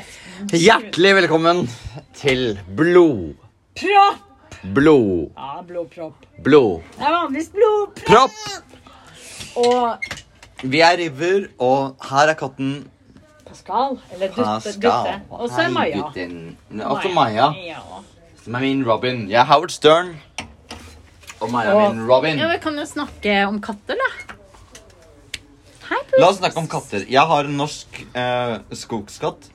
julaften. Hjertelig velkommen til blod, Propp! blod, Ja, blodpropp. blodpropp. Det er vanligvis blodpropp. Og Vi er River, og her er katten Pascal, eller Dutte, Dutte. Pascal. Og så er Hei, Maja. gutten. Også Maja, Ja. som er min Robin. Jeg er Howard Stern, og Maja er Og- min Robin. Ja, Vi kan jo snakke om katter, da. Hei, Pus. La oss snakke om katter. Jeg har en norsk eh, skogskatt.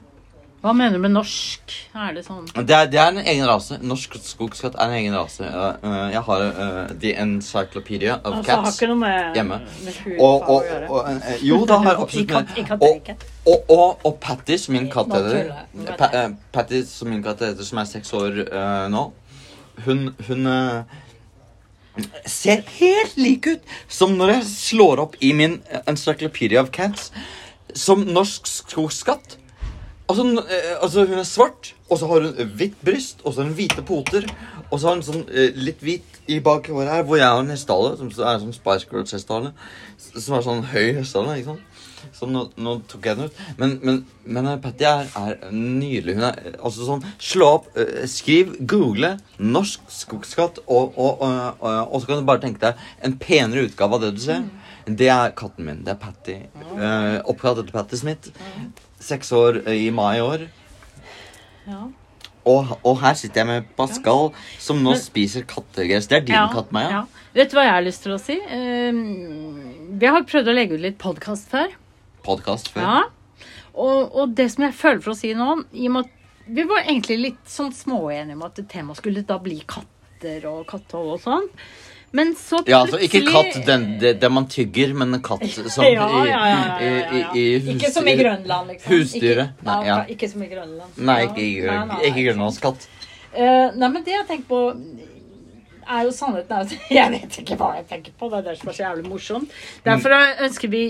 Hva mener du med norsk? Er det sånn Det er, det er en egen rase. Norsk skogskatt er en egen rase. Eh, eh, jeg har eh, The Encyclopedia of Altså, har Cats. ikke noe med, hjemme. med hud Og, å og, gjøre. og eh, Jo, det har absolutt I katt- i med og, katteeket. og, og, og Patty, som min katt Nå heter tuller jeg. pa, eh, Patty, som min katt heter, som er seks år eh, nå, hun, hun eh, ser helt lik ut som når jeg slår opp i min eh, Encyclopedia of Cats som norsk skogskatt. Altså, n- eh, altså, hun er svart, og så har hun hvitt bryst, og så har hun hvite poter. Og så har hun sånn eh, litt hvit i bak håret her, hvor jeg har en hestehale. Som så er sånn Spice Girls-hestehale. s- Som er sånn høy hestehale, ikke sant. Så nå, nå tok jeg den ut. Men, men, men eh, Patty er, er nydelig. Hun er eh, altså sånn Slå opp, eh, skriv, google 'norsk skogskatt', og, og, og, og, og så kan du bare tenke deg en penere utgave av det du ser. Det er katten min. Det er Patty. Eh, Oppkalt etter Patty Smith. Seks år eh, i mai i år. ja. Og, og her sitter jeg med Pascal, som nå spiser kattegress. Det er din Ja, katt, Maja. ja. Vet du hva jeg har lyst til å si? Ehm, Vi har prøvd å legge ut litt podkast før. Podcast Podkast før. Ja. Og, og det som jeg føler for å si nå i og med at Vi var egentlig litt sånn småenige om at temaet skulle da bli katter og kattehold og sånn. Men så plutselig Ja, altså ikke katt den, den, den man tygger, men en katt som ja, ja, ja, ja, i, ja, i, ja. i, i Ikke som i husdyr- Grønland, liksom. Husdyret. Ikke, Nei, ja. ikke som i Grønland. Nei, Ja. ikke, i Nei, grøn- nei, ikke grønlandskatt. Eh, nei, men det jeg tenker på er jo sannheten er at Jeg vet ikke hva jeg tenker på. Det er det som er så jævlig morsomt. Derfor Mm. ønsker vi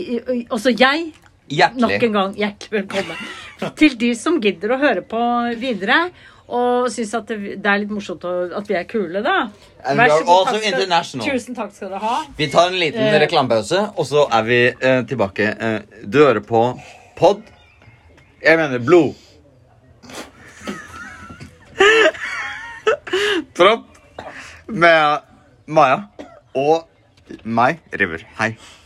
også jeg nok Hjertelig. en gang hjertelig velkommen til de som gidder å høre på videre. Og syns at det det er litt morsomt å- at vi er kule, da. And Vær we så are god, also takk skal- international. Tusen takk skal dere ha. Vi tar en liten Eh. reklamepause, og så er vi eh, tilbake. Eh, du hører på pod Jeg mener blod. Propp med Maja og meg, River. Hei.